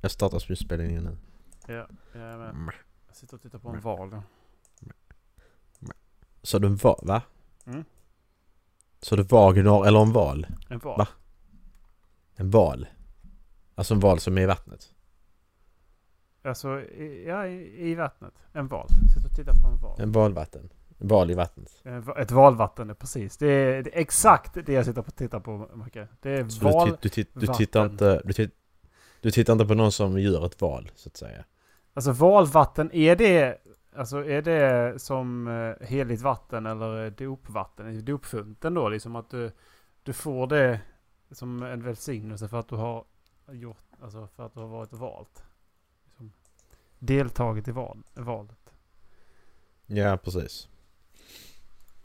Jag startar slutspelningen nu. Ja, jag är Mm. med. Jag sitter Eh, och tittar på en val. då. Så du en val, va? Mm. Så du vaginor eller en val? En val? Va? En val. Alltså en val som är i vattnet. Alltså, i, ja, i, i vattnet. En val. Jag sitter och tittar på en val. En valvatten. En val i vattnet. Eh, va- Ett valvatten, precis. Det är, det är exakt det jag sitter och tittar på, Macke. Det är Så du, val. ti- du, ti- du tittar valvatten. inte... Du, ti- du tittar inte på någon som gör ett val, så att säga. Alltså valvatten, är det, alltså, är det som eh, heligt vatten eller eh, dopvatten? Är det Dopfunten då, liksom att du, du får det som en välsignelse för att du har gjort, alltså för att du har varit valt. Liksom, deltagit i val, valet. Ja, precis.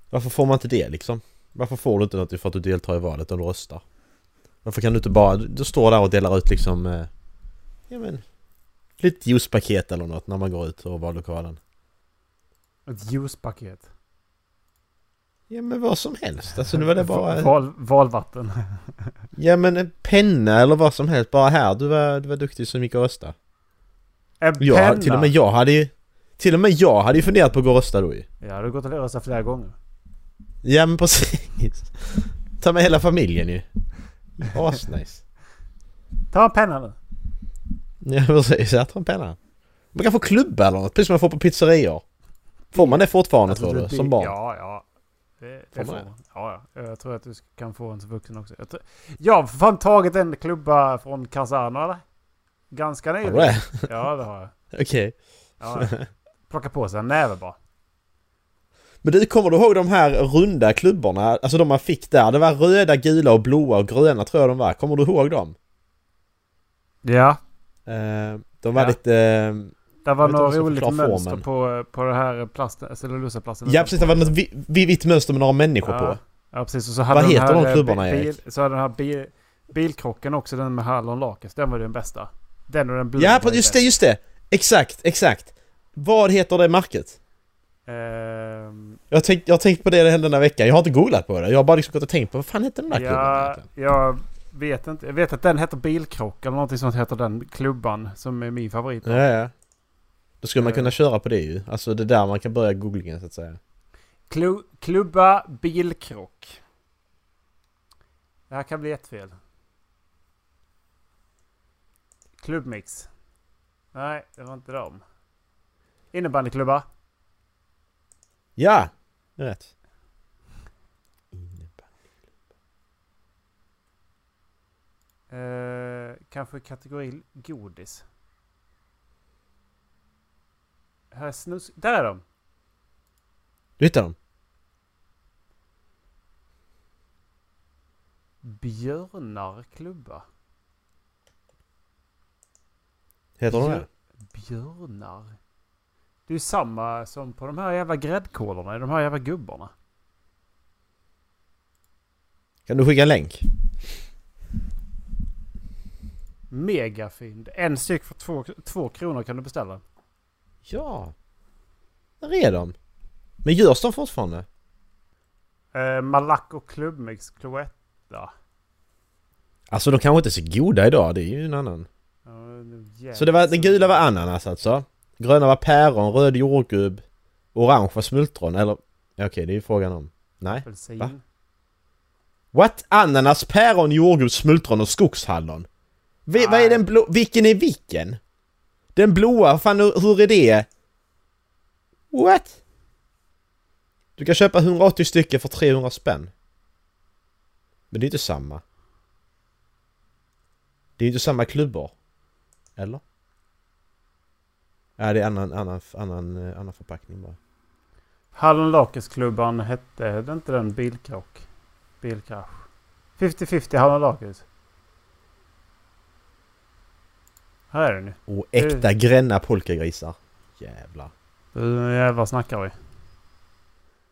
Varför får man inte det liksom? Varför får du inte något för att du deltar i valet och röstar? Varför kan du inte bara... Du står där och delar ut liksom... Eh, ja men... Lite juicepaket eller något när man går ut ur vallokalen. Ett juicepaket. Ja men vad som helst. Alltså nu var det bara... Val, valvatten. Ja men en penna eller vad som helst. Bara här. Du var, du var duktig som gick och rösta. En Jag, penna! hade- till och med jag hade ju... Till och med jag hade ju funderat på att gå och rösta då ju. Ja, du har gått och röstat flera gånger. Ja men precis. Ta med hela familjen ju. Asnice. Ta en penna nu. Ja precis, jag tar en penna. Man kan få klubba eller något, precis som man får på pizzerior. Får man Alltså, det fortfarande tror du? Alltså, det- Som barn? Ja, ja. Det, Får man det får det? man. Ja, ja. Jag tror att du sk- kan få en som vuxen också. Jag, tror, jag har för fan tagit en klubba från Cassano eller? Ganska Har nyligen. du det? Ja, det har jag. Okej. Ja, ja. Plocka på sig en näve bara. Men du, kommer du ihåg de här runda klubborna? Alltså de man fick där. Det var röda, gula och blåa och gröna tror jag de var. Kommer du ihåg dem? Ja. Eh, de var Ja. lite... eh, Det var Jag vet inte vad något som roligt förklarar mönster formen. på, på det här plasten, cellulosaplasten. ja precis, det var något vi, vi, vitt mönster med några människor ja. på. Ja, precis. Och så hade Vad den heter här, de eh, klubbarna, bi- Erik? bil, Så hade den här bi, bilkrocken också, den med hallonlakrits. Den var ju den bästa. Den och den blå. Ja, var ju just det, bäst. just det! Exakt, exakt! Vad heter det märket? Ehm, Jag har tänkt, jag har tänkt på det hela den här veckan. Jag har inte googlat på det. Jag har bara liksom gått och tänkt på vad fan heter den där klubban Ja, egentligen? jag vet inte. Jag vet att den heter Bilkrock eller någonting sånt heter den klubban som är min favorit. Ja, ja. Då skulle man Eh. kunna köra på det ju. Alltså det är där man kan börja googlingen så att säga. Klu klubba Bilkrock. Det här kan bli ett fel. Klubbmix. Nej, det var inte dem. Innebandyklubba. Ja! det är Rätt. Eh, kanske kategori godis. Här är snus... Där är de! Du hittar dem? Björnarklubba. Heter de Björ- det? Björnar. Det är ju samma som på de här jävla gräddkolorna, de här jävla gubbarna. Kan du skicka en länk? Megafynd. En styck för två, två kronor kan du beställa. Ja! Där är de! Men görs de fortfarande? Eh, Malaco klubbmix cloetta. Alltså de kanske inte är så goda idag, det är ju en annan. Ja, nu jävlar. Så det var, den gula var ananas alltså? Gröna var päron, röd jordgubb, orange var smultron eller? ja, Okej, det är ju frågan om. Nej? Apelsin. Va? What? Ananas, päron, jordgubb, smultron och skogshallon? Vi, vad är Nej. den blå... Vilken är vilken? Den blåa, fan hur, hur är det? What? Du kan köpa 180 stycken för 300 spänn. Men det är inte samma. Det är inte samma klubbor. Eller? Ja, det är annan, annan, annan, eh, annan förpackning bara. Hallonlakritsklubban hette, hette inte den bilkrock? Bilkrasch. 50-50 hallonlakrits. Här är den ju. Och äkta gränna polkagrisar. Jävlar. Nu jävlar snackar vi.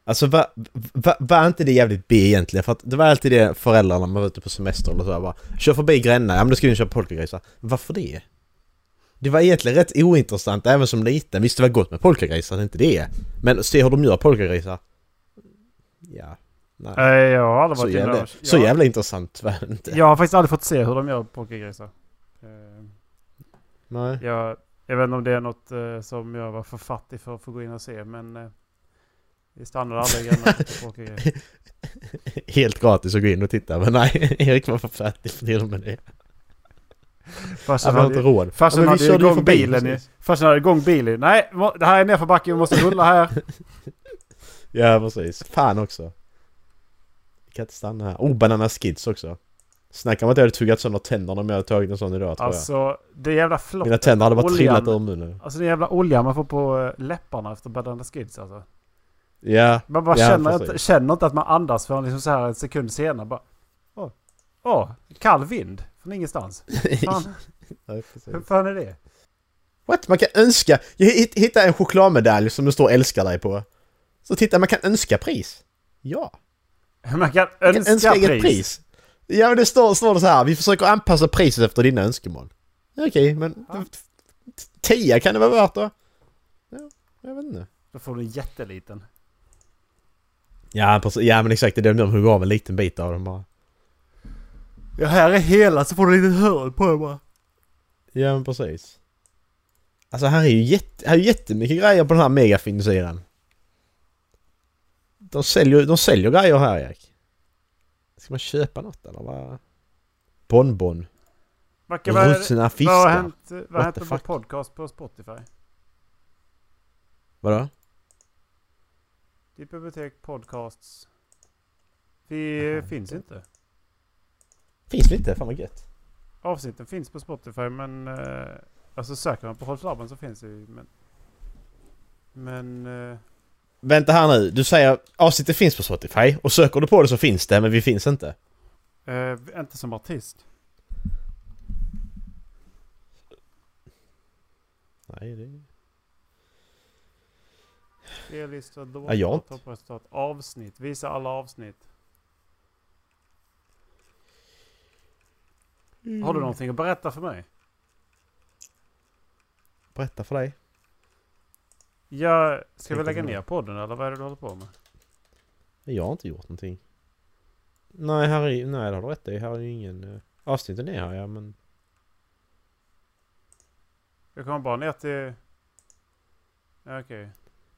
Alltså va, va, var inte det jävligt B egentligen? För att det var alltid det föräldrarna man var ute på semester eller så här, bara Kör förbi Gränna, ja men då ska vi köpa polkagrisar. Varför det? Det var egentligen rätt ointressant även som liten. Visst det var gott med polkagrisar, det är inte det. Men se hur de gör polkagrisar. Ja. Nej. Eh, Jag har aldrig så, varit inne jävla, och- så jag- jävla intressant var det inte. Jag har faktiskt aldrig fått se hur de gör polkagrisar. Eh, Nej. Jag, jag vet inte om det är något eh, som jag var för fattig för att få gå in och se, men eh, vi stannade aldrig grannar på folkakademi. Helt gratis att gå in och titta, men nej, Erik var för fattig för till och med det. Alltså, Han Farsan har inte hade, råd. farsan Ja, men vi hade ju körde ju igång förbi, bilen ju. precis. Farsan hade igång bilen. Nej, må- det här är nerför backen, vi måste rulla här. Ja, precis. Fan också. Vi kan inte stanna här. Oh, Banana Skids också. Snacka om att jag hade tuggat sönder tänderna om jag hade tagit en sån idag, tror Alltså, det jävla jag. Mina flott. tänder hade bara oljan. trillat ur munnen. Alltså den jävla oljan man får på eh, läpparna efter Badanda Skids alltså. Ja, Man bara Ja, känner, precis. inte, känner inte att man andas förrän liksom så här en sekund senare bara... Åh, åh kall vind från ingenstans. Fan, ja precis. hur fan är det? What? Man kan önska! Jag hitt- hittade en chokladmedalj som det står älskar dig på. Så titta, man kan önska pris. Ja. Man kan Man kan önska önska eget pris. pris. Ja, men det står, står det så här. Vi försöker anpassa priset efter dina önskemål. Ja, Okej, men... Ja. Tia kan det vara värt då? Ja, jag vet inte. Då får du en jätteliten. Ja, precis. Ja, men exakt. Det är det de hugger av en liten bit av dem bara. Ja, här är hela så får du en litet hörn på den bara. Ja, men precis. Alltså, här är ju jätte, här är jättemycket grejer på den här megafin-sidan. De säljer, de säljer grejer här, Erik. Ska man köpa något eller vad? Bonbon. Verkar vara... Russina Vad har fiskar. hänt? Vad What har hänt the med vår fuck? podcast på Spotify? Vadå? Ditt bibliotek podcasts. Vi Jaha, finns det- inte. Finns det inte? Fan vad gött. Avsnitten finns på Spotify men... Eh, alltså söker man på Holslabben så finns det ju men... Men... Eh, Vänta här nu. Du säger avsnittet finns på Spotify och söker du på det så finns det men vi finns inte. Eh, inte som artist. Nej, det... Spellista, Ja, jag har låtar, inte. toppresultat, avsnitt. Visa alla avsnitt. Mm. Har du någonting att berätta för mig? Berätta för dig. Jag, ska vi Tänkte lägga på det. ner podden eller vad är det du håller på med? Jag har inte gjort någonting. Nej, här är, nej det har du rätt i. Här är ju ingen... eh, Avsnitten är här ja, men... Jag kommer bara ner till... Ja, Okej.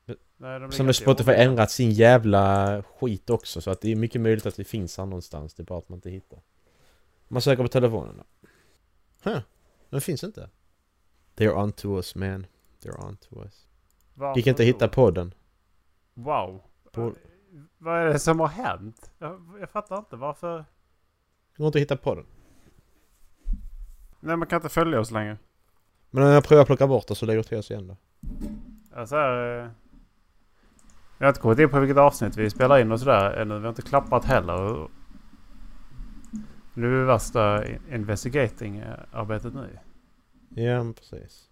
Men- Nej, de ligger Sen har inte i Spotify ordning. ändrat sin jävla skit också så att det är mycket möjligt att vi finns här någonstans. Det är bara att man inte hittar. Man söker på telefonen då. Huh. Den finns inte. They're on to us man. They're on to us. Varför Gick inte då? att hitta podden. Wow. På- Eh, Vad är det som har hänt? Jag, jag fattar inte varför... Går inte att hitta podden. Nej, man kan inte följa oss längre. Men om jag provar att plocka bort det så lägger det till oss igen då. Alltså här, eh, jag har inte kommit in på vilket avsnitt vi spelar in och sådär ännu. Vi har inte klappat heller. Och- Nu är det värsta in- investigating-arbetet nu. Ja, men precis.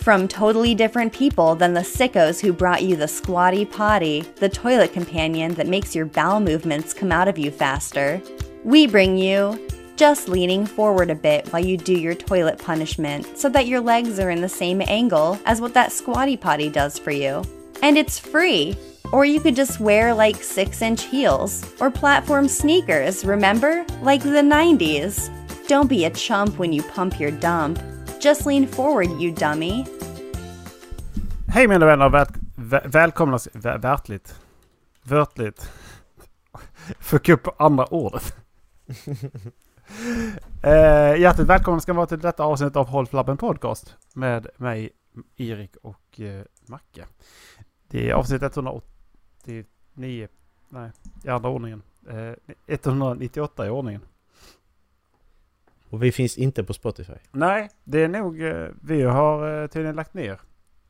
From totally different people than the sickos who brought you the squatty potty, the toilet companion that makes your bowel movements come out of you faster, we bring you just leaning forward a bit while you do your toilet punishment so that your legs are in the same angle as what that squatty potty does for you. And it's free! Or you could just wear like 6 inch heels or platform sneakers, remember? Like the 90s. Don't be a chump when you pump your dump. Just lean forward, you dummy. Hej mina vänner och väl, vä- välkomna... Vä, värtligt. Vörtligt. Fuck upp andra ordet. eh, hjärtligt välkomna ska ni vara till detta avsnitt av Håll Flabben Podcast. Med mig, Erik och eh, Macke. Det är avsnitt 189. Nej, i andra ordningen. Eh, 198 i ordningen. Och vi finns inte på Spotify. Nej, det är nog... eh, Vi har eh, tydligen lagt ner.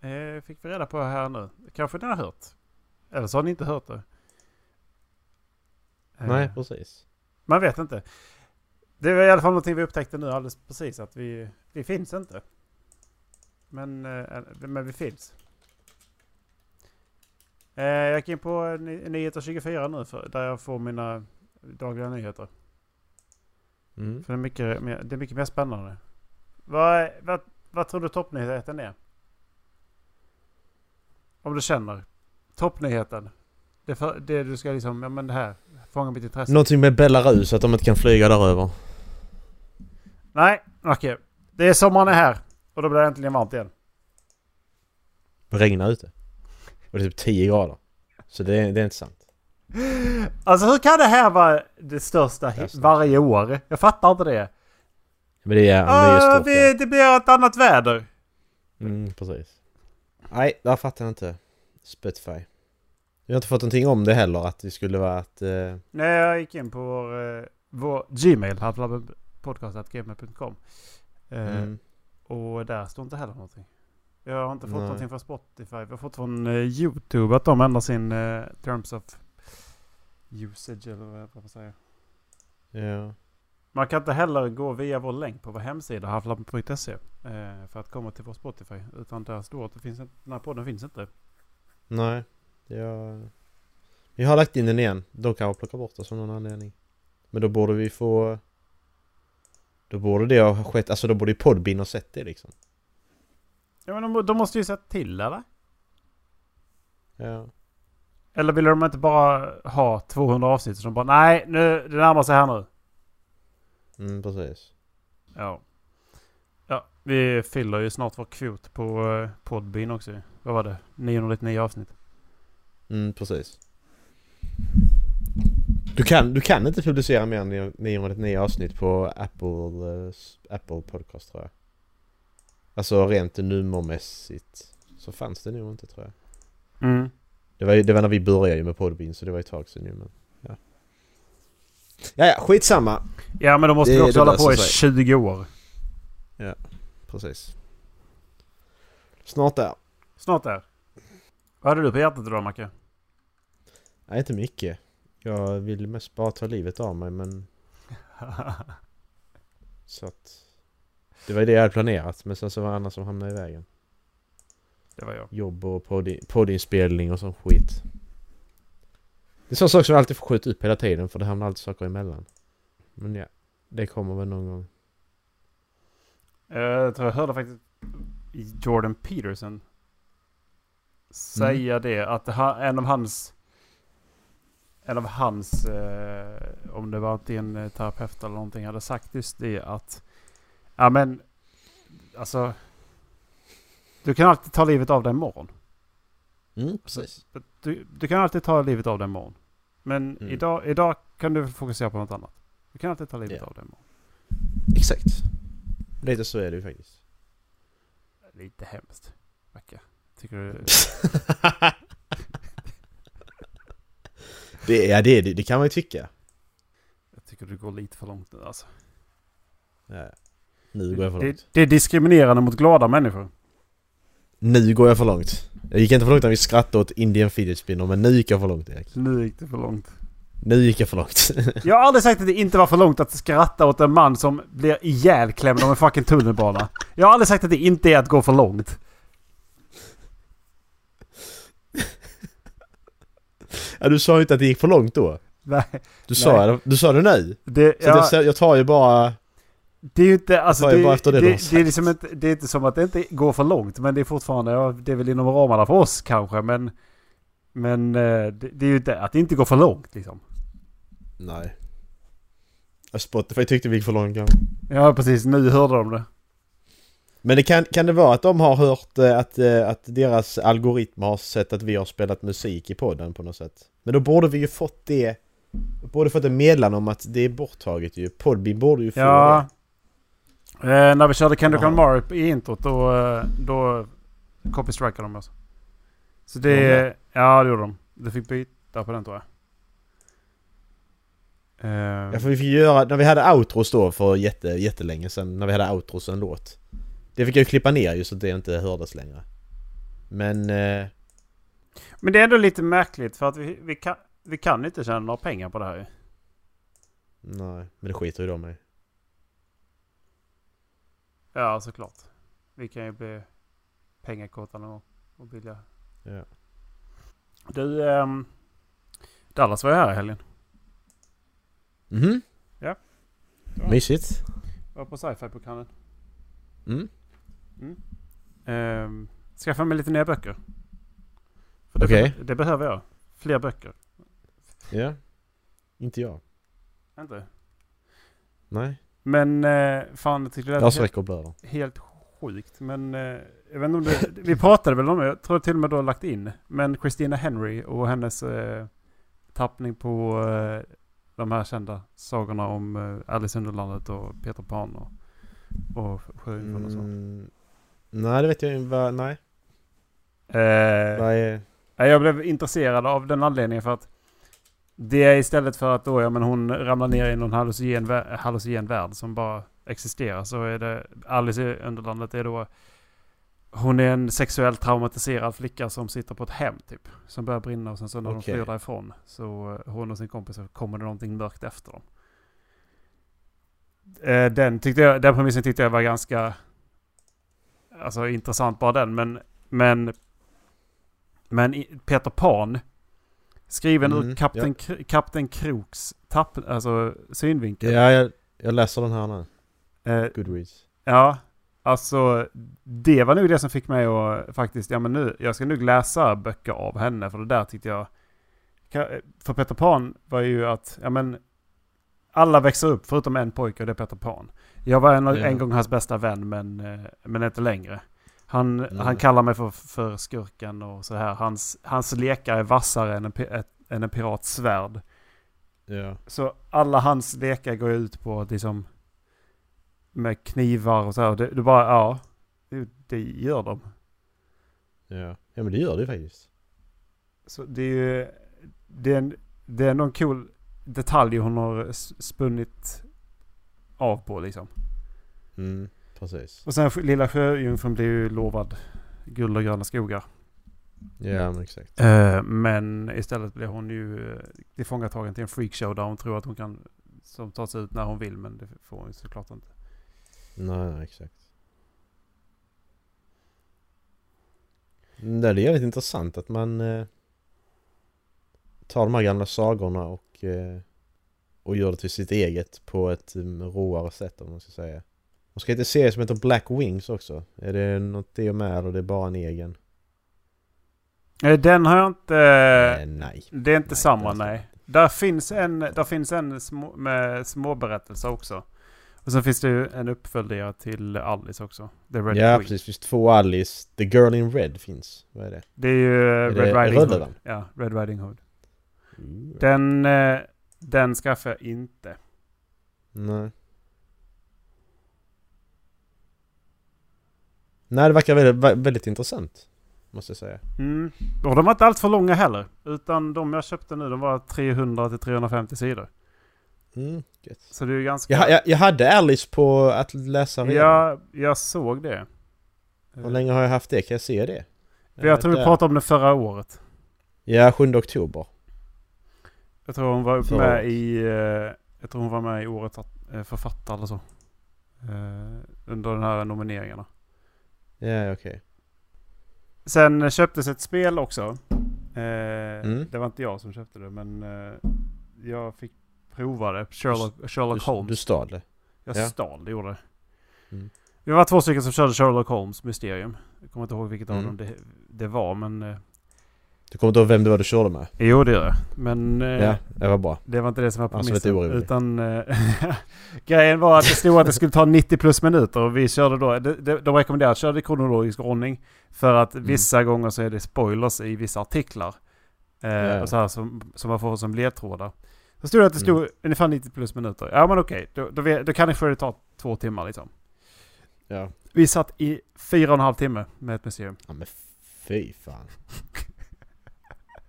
Eh, Fick vi reda på här nu. Kanske ni har hört. Eller så har ni inte hört det. Eh, Nej, precis. Man vet inte. Det var i alla fall någonting vi upptäckte nu alldeles precis. Att vi, vi finns inte. Men, eh, men vi finns. Eh, Jag gick in på ny- Nyheter 24 nu för, där jag får mina dagliga nyheter. Mm. För det är mycket mer, det är mycket mer spännande. Vad, vad, vad tror du toppnyheten är? Om du känner. Toppnyheten. Det, för, det du ska liksom, ja men det här. Fånga mitt intresse. Någonting med Belarus, att de inte kan flyga där över. Nej, okej. Det är sommaren är här. Och då blir det äntligen varmt igen. Det regnar ute. Och det är typ 10 grader. Så det, är- det är inte sant. Alltså hur kan det här vara det största Just det. varje år? Jag fattar inte det. Men det är en ny Ah, stort. vi, det blir ett annat väder. ja. Mm, precis. Nej, där fattar jag inte. Spitfire. Vi har inte fått någonting om det heller, att det skulle vara att... Eh, Nej, jag gick in på vår, eh, vår Gmail, halflabbepodcast.gmail.com. Eh, mm. Och där står inte heller någonting. Jag har inte fått Nej. någonting från Spotify. Jag har fått från eh, YouTube att de ändrar sin eh, terms of usage eller vad man säger. Ja. Man kan inte heller gå via vår länk på vår hemsida halflabben.se eh, för att komma till vår Spotify. Utan där står att det finns inte, den här podden finns inte. Nej. Jag... Vi har lagt in den igen. De kan plocka bort oss av någon anledning. Men då borde vi få... Då borde det ha skett, alltså då borde ju Podbean ha sett det liksom. Ja men de, de måste ju sätta till eller? Ja. Eller ville de inte bara ha 200 avsnitt så de bara nej nu, det närmar sig här nu. Mm, precis. Ja. Ja, vi fyller ju snart vår kvot på eh, Podbean också ju. Vad var det? 999 avsnitt. Mm, precis. Du kan, du kan inte publicera mer än 999 avsnitt på Apple, eh, s- Apple Podcast tror jag. Alltså rent nummermässigt så fanns det nog inte tror jag. Mm. Det var, ju, det var när vi började ju med Podbean så det var ju ett tag sedan ju men... Ja. Ja, ja, skitsamma. Ja men då måste Det- vi också det hålla löser på i sig. 20 år. Precis. Snart där. Snart där. Vad hade du på hjärtat idag Macke? Nej, inte mycket. Jag vill mest bara ta livet av mig men... Så att... Det var ju det jag hade planerat men sen så var det annat som hamnade i vägen. det var jag. Jobb och podd- poddinspelning och sån skit. Det är sån sak som jag alltid får skjuta upp hela tiden för det hamnar alltid saker emellan. Men ja, det kommer väl någon gång. Eh, Jag tror jag hörde faktiskt Jordan Mm. Peterson säga det. Att det ha- en av hans... En av hans, eh, om det var att en eh, terapeut eller någonting, hade sagt just det att... Ja men... Alltså... Du kan alltid ta livet av dig imorgon. Mm, Du, du kan alltid ta livet av dig imorgon. Men Mm. idag, idag kan du fokusera på något annat. Du kan alltid ta livet Ja. av dig imorgon. Exakt. Lite så är det ju faktiskt. Lite hemskt. Macke. Tycker du... det, ja, det, är det, det kan man ju tycka. Jag tycker du går lite för långt nu alltså. Ja. Nu går jag för långt. Det, det är diskriminerande mot glada människor. Nu går jag för långt. Jag gick inte för långt när vi skrattade åt Indian fidget spinner, men nu gick jag för långt Erik. Nu gick det för långt. Nu gick jag för långt. Jag har aldrig sagt att det inte var för långt att skratta åt en man som blir ihjälklämd av en fucking tunnelbana. Jag har aldrig sagt att det inte är att gå för långt. ja, du sa ju inte att det gick för långt då. Nej, Du sa, Nej. det- du sa det nu. det, Så att jag, ja, sa- jag tar ju bara... det är ju inte... Alltså, Vad är- det, vad efter det det, du har det, är sagt? liksom inte, det är inte som att det inte går för långt, men det är fortfarande... Ja, det är väl inom ramarna för oss kanske, men... Men eh, det, det är ju inte att det inte går för långt liksom. Nej. Ja, Spotify tyckte vi gick för långt kanske. Ja, precis. Nu hörde de det. Men det kan, kan det vara att de har hört eh, att, eh, att deras algoritmer har sett att vi har spelat musik i podden på något sätt? Men då borde vi ju fått det... Borde fått en meddelan om att det är borttaget ju. Podbean borde ju få Ja. Eh, när vi körde Kendrick Jaha. Lamar i introt då, eh, då copy-strikade de oss. Så det... Gjorde de Ja, det gjorde de. Du fick byta på den tror jag. det. Eh, Ja, för vi fick göra... När vi hade outros då för jätte, jättelänge sedan, när vi hade outros och en låt. Det fick jag ju klippa ner ju så att det inte hördes längre. Men... Eh, Men det är ändå lite märkligt för att vi, vi, kan, vi kan inte tjäna några pengar på det här ju. nej, men det skiter ju de i. Ja, såklart. Vi kan ju bli pengakåta någon gång. Och billiga. Ja. Du, ehm, Dallas var ju här i helgen. Mhm. Ja. Mysigt. Var på sci-fi-pokalen. Mm. Ehm, skaffa mig lite nya böcker. För det, Okej. det behöver jag. Fler böcker. Ja. Inte jag. Inte? Nej. Men eh, fan, jag tyckte det Ja, lät så räcker blöder. helt sjukt. Men eh, jag vet inte om det, vi pratade väl om det, jag tror till och med du har lagt in. Men Christina Henry och hennes eh, tappning på eh, de här kända sagorna om eh, Alice i Underlandet och Peter Pan och, och Sjöjungfrun och så. Mm, nej, det vet jag inte. Vad- Nej. Eh, Vad är... nej, jag blev intresserad av den anledningen för att det är istället för att då, ja, men hon ramlar ner i någon hallucinogen, vä- hallucinogen värld som bara existerar så är det Alice i Underlandet är då hon är en sexuellt traumatiserad flicka som sitter på ett hem typ. Som börjar brinna och sen så när Okej. de flyr därifrån så eh, hon och sin kompis så kommer det någonting mörkt efter dem. Eh, Den, tyckte jag, den premissen tyckte jag var ganska alltså, intressant bara den. Men, men, men i- Peter Pan skriven Mm, ur Kapten, Kr- Kapten Kroks tapp, alltså, synvinkel. Ja, jag, jag läser den här nu. Eh, Goodreads. Ja, alltså det var nog det som fick mig att faktiskt, ja men nu, jag ska nog läsa böcker av henne för det där tyckte jag, Ka- för Peter Pan var ju att, ja men, alla växer upp förutom en pojke och det är Peter Pan. Jag var en, Ja. en gång hans bästa vän men, eh, men inte längre. Han, Mm. han kallar mig för, för skurken och så här. Hans, hans lekar är vassare än en, pi- ett, än en pirats svärd. Ja. Så alla hans lekar går ut på att liksom med knivar och så här. Det, det bara, ja. Det, det gör de. Ja. ja, men det gör det ju faktiskt. Så det är ju, det är, en, det är ändå en cool detalj hon har s- spunnit av på liksom. Mm, precis. Och sen Lilla Sjöjungfrun blir ju lovad guld och gröna skogar. Ja, men exakt. Eh, men istället blir hon ju eh, tillfångatagen till en freakshow där hon tror att hon kan som tar sig ut när hon vill men det får hon ju såklart inte. Nej, nej, exakt. Mm, Det är jävligt intressant att man eh, tar de här gamla sagorna och, eh, och gör det till sitt eget på ett um, roare sätt om man ska säga. Man ska inte se som heter Black Wings också. Är det något det med och det är bara en egen? Eh, Den har jag inte... Eh, nej. Det är inte Nej, samma, det är nej. Där finns en, där finns en små, med småberättelse också. Och sen finns det ju en uppföljare till Alice också. The Red ja, Queen. precis. Det finns två Alice. The Girl in Red finns. Vad är det? Det är ju eh, Red det Riding röda Hood. den? Ja, Red Riding Hood. Ooh. Den, eh, den skaffar jag inte. Nej. Nej, det verkar väldigt, vä- väldigt intressant. Måste jag säga. Mm. Och de var inte allt för långa heller. Utan de jag köpte nu, de var 300-350 sidor. Mm, gött. Så det är ju ganska... Jag, jag, jag hade Alice på att läsa redan. jag, jag såg det. Hur länge har jag haft det? Kan jag se det? Jag tror vi Där. pratade om det förra året. Ja, 7 oktober. Jag tror hon var Förra med året. i... eh, Jag tror hon var med i årets att- eh, författare eller så. Eh, Under de här nomineringarna. Ja, okej. Sen eh, köptes ett spel också. Eh, Mm. Det var inte jag som köpte det men eh, jag fick prova det. Sherlock, Sherlock Du, Holmes. du stal det. jag ja. stal det, gjorde det. Mm. Vi var två stycken som körde Sherlock Holmes mysterium. Jag kommer inte ihåg vilket av Mm. dem det, det var men... eh, Du kommer inte ihåg vem det var du körde med? Jo det gör jag. Men... eh, Ja, det var bra. Det var inte det som var Han som lite premissen. orolig. utan eh, grejen var att det stod att det skulle ta 90 plus minuter och vi körde då, de, de, de rekommenderade att köra i kronologisk ordning. För att vissa gånger så är det spoilers i vissa artiklar. Eh, Ja. och så här som, som man får som ledtrådar. Så stod det att det stod ungefär 90 plus minuter. Ja men okej, då, då, vet- då kan det kanske det ta två timmar liksom. Ja. Vi satt i fyra och en halv timme med ett museum. ja men fy fan.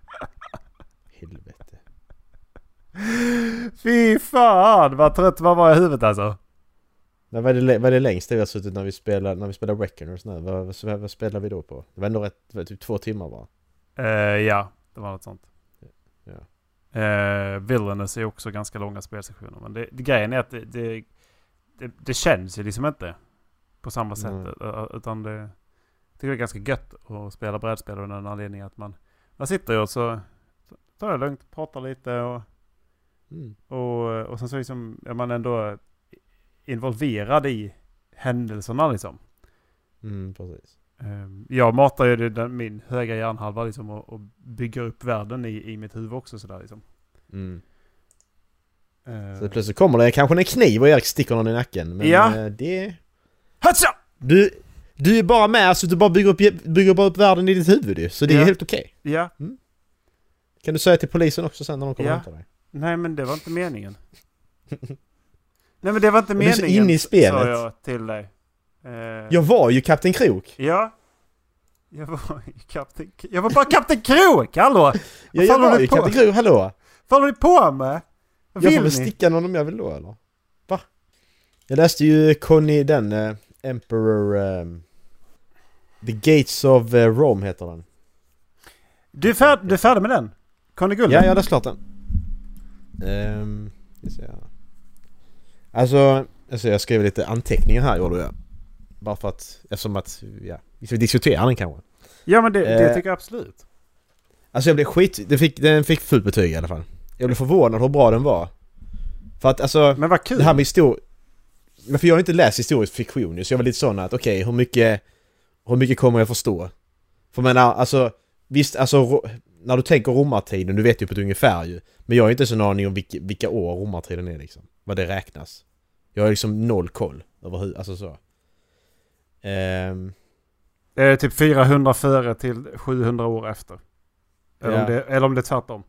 Helvete. Fy fan vad trött man var i huvudet alltså. Nej, vad, är det, lä- vad är det längsta vi har suttit när vi spelar, när vi spelar Reckoners nu? Vad, vad, vad, vad spelar vi då på? Det var ändå rätt, det var typ två timmar bara. Eh, ja, det var något sånt. Ja. Eh, Villainous är också ganska långa spelsessioner. Men det, det, grejen är att det, det, det, det känns ju liksom inte på samma sätt. Nej. eh, Utan det, jag tycker det är ganska gött att spela brädspel av den anledningen att man, man sitter ju och så tar det lugnt, pratar lite och, Mm. och, och sen så liksom är man ändå involverad i händelserna liksom. Mm, precis. Ehm, Jag matar ju det- den, min höga hjärnhalva liksom Mm. och, och bygger upp världen i, i mitt huvud också sådär liksom. Mm. Så plötsligt kommer det kanske en kniv och Erik sticker någon i nacken. Men Ja. eh, det... Hatsa! Du, du är bara med så du bara bygger upp, bygger bara upp världen i ditt huvud ju. Så det Ja. är helt okej. Ja, Kan du säga till polisen också sen när de kommer Ja. och hämtar dig? nej men det var inte meningen. nej men det var inte Men du är så meningen. inne i Sa spelet. jag till dig. Eh, Jag var ju Kapten Krok! Ja. Jag var ju kapten... Jag var bara kapten Krok! Hallå! Jag, jag fan håller var du ju på? Kapten Krok, hallå! Vad håller ni på med? Vad Jag får vill väl ni? sticka någon om jag vill då eller? Va? Jag läste ju Conny den, eh, Emperor... ehm, The Gates of eh, Rome heter den. du, är färd, du är färdig med den? Conny Gulden? Ja, jag har läst klart den. Ehm, ska se här. Alltså, alltså, jag skrev lite anteckningar här gjorde jag. Bara för att, eftersom att, ja. Ska vi diskutera den kanske? Ja, men det, det Eh. tycker jag absolut. Alltså jag blev skit, den fick, den fick fullt betyg i alla fall. Jag blev förvånad hur bra den var. För att alltså, Men vad kul! det här med historia... Men för jag har inte läst historisk fiktion ju, så jag var lite sån att okej, hur mycket... Hur mycket kommer jag förstå? För jag menar, alltså... Visst, alltså... ro- När du tänker romartiden, du vet ju på ett ungefär ju. Men jag har ju inte ens en aning om vilka, vilka år romartiden är liksom. Vad det räknas. Jag har liksom noll koll över hur, alltså så. Ehm, Eh, typ 400 före till 700 år efter. Eller, Ja. om, det, eller om det är tvärtom.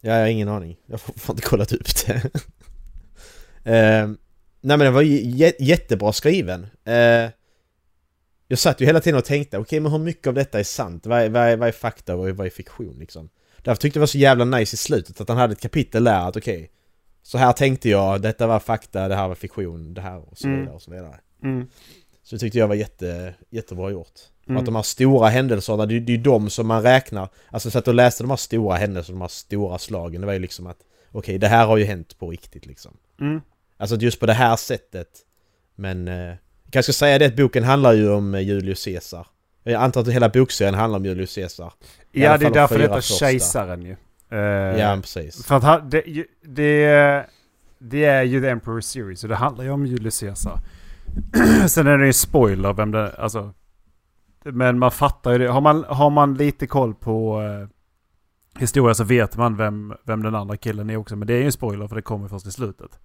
Ja, jag har ingen aning. Jag har fan inte kollat upp det. Eh, nej men den var ju jä- jättebra skriven. Eh, jag satt ju hela tiden och tänkte, okej men hur mycket av detta är sant? Vad är, vad är, vad är fakta och vad är, vad är fiktion liksom? Därför tyckte jag det var så jävla nice i slutet att han hade ett kapitel där att okej, så här tänkte jag, detta var fakta, det här var fiktion, det här och så Mm. vidare och så vidare. Mm. Så det tyckte jag var jätte, jättebra gjort. Mm. Och att de här stora händelserna, det, det är ju de som man räknar. Alltså jag satt och läste de här stora händelserna, de här stora slagen. Det var ju liksom att okej, det här har ju hänt på riktigt liksom. Mm. Alltså just på det här sättet. Men eh, jag kanske ska säga det att boken handlar ju om eh, Julius Caesar. Jag antar att hela bokserien handlar om Julius Caesar. I Ja, alla det är fall de därför det fyra heter första. Kejsaren ju. Eh, Ja, precis. För att han, det, ju- det, det är ju The Emperor Series så det handlar ju om Julius Caesar. Sen är det ju spoiler vem det alltså. Men man fattar ju det. Har man, har man lite koll på eh, historia så vet man vem, vem den andra killen är också. Men det är ju en spoiler för det kommer först i slutet.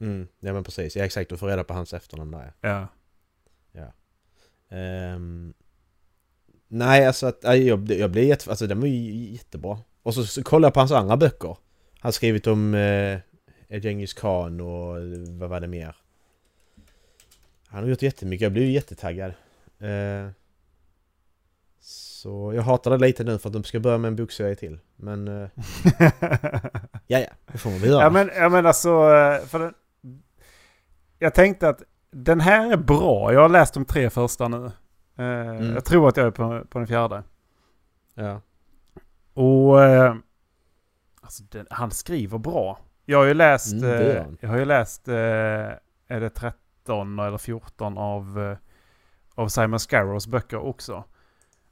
Mm, ja men precis. Ja exakt, du får reda på hans efternamn där. ja. Ja. Ehm, nej, alltså att, nej, jag, blev- jag blev jätte, alltså den var ju jättebra. Och så, så kollade jag på hans andra böcker. Han skrivit om eh, Genghis Khan och eh, vad var det mer? Han har gjort jättemycket, jag blev ju jättetaggad. Eh, så jag hatar det lite nu för att de ska börja med en bokserie till. Men eh, ja, ja, det får man väl göra. Ja, men, ja, men alltså, eh, för den, jag tänkte att den här är bra. Jag har läst de tre första nu. Eh, Jag tror att jag är på, på den fjärde. ja. Och eh, alltså, den, han skriver bra. Jag har ju läst, Mm, det gör eh, han. jag har ju läst eh, är det 13 eller 14 av, eh, av Simon Scarrows böcker också.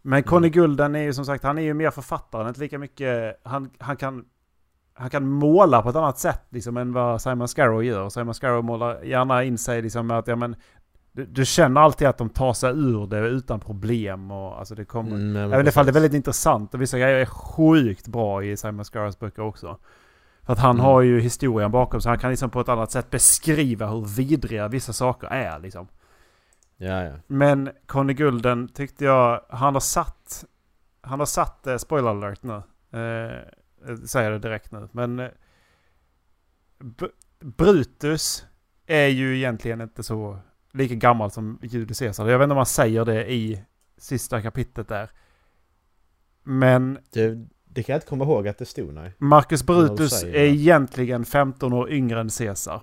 Men Conny Mm. Gulden är ju som sagt, han är ju mer författaren, inte lika mycket, han, han kan han kan måla på ett annat sätt liksom, än vad Simon Scarrow gör. Simon Scarrow målar gärna in sig liksom, med att ja, men, du, du känner alltid att de tar sig ur det utan problem. Och, alltså, det kommer, Mm, ja, men Även ifall det är precis. väldigt intressant och vissa grejer är sjukt bra i Simon Scarrows böcker också. För att han Mm. har ju historien bakom så han kan liksom på ett annat sätt beskriva hur vidriga vissa saker är liksom. Ja, ja. Men Conny Gulden tyckte jag, han har satt, han har satt, eh, spoiler alert nu, eh, jag säger det direkt nu, men eh, B- Brutus är ju egentligen inte så lika gammal som Julius Caesar. Jag vet inte om man säger det i sista kapitlet där. Men Det, det kan jag inte komma ihåg att det stod, nej. Marcus vad Brutus säger är det? egentligen 15 år yngre än Caesar.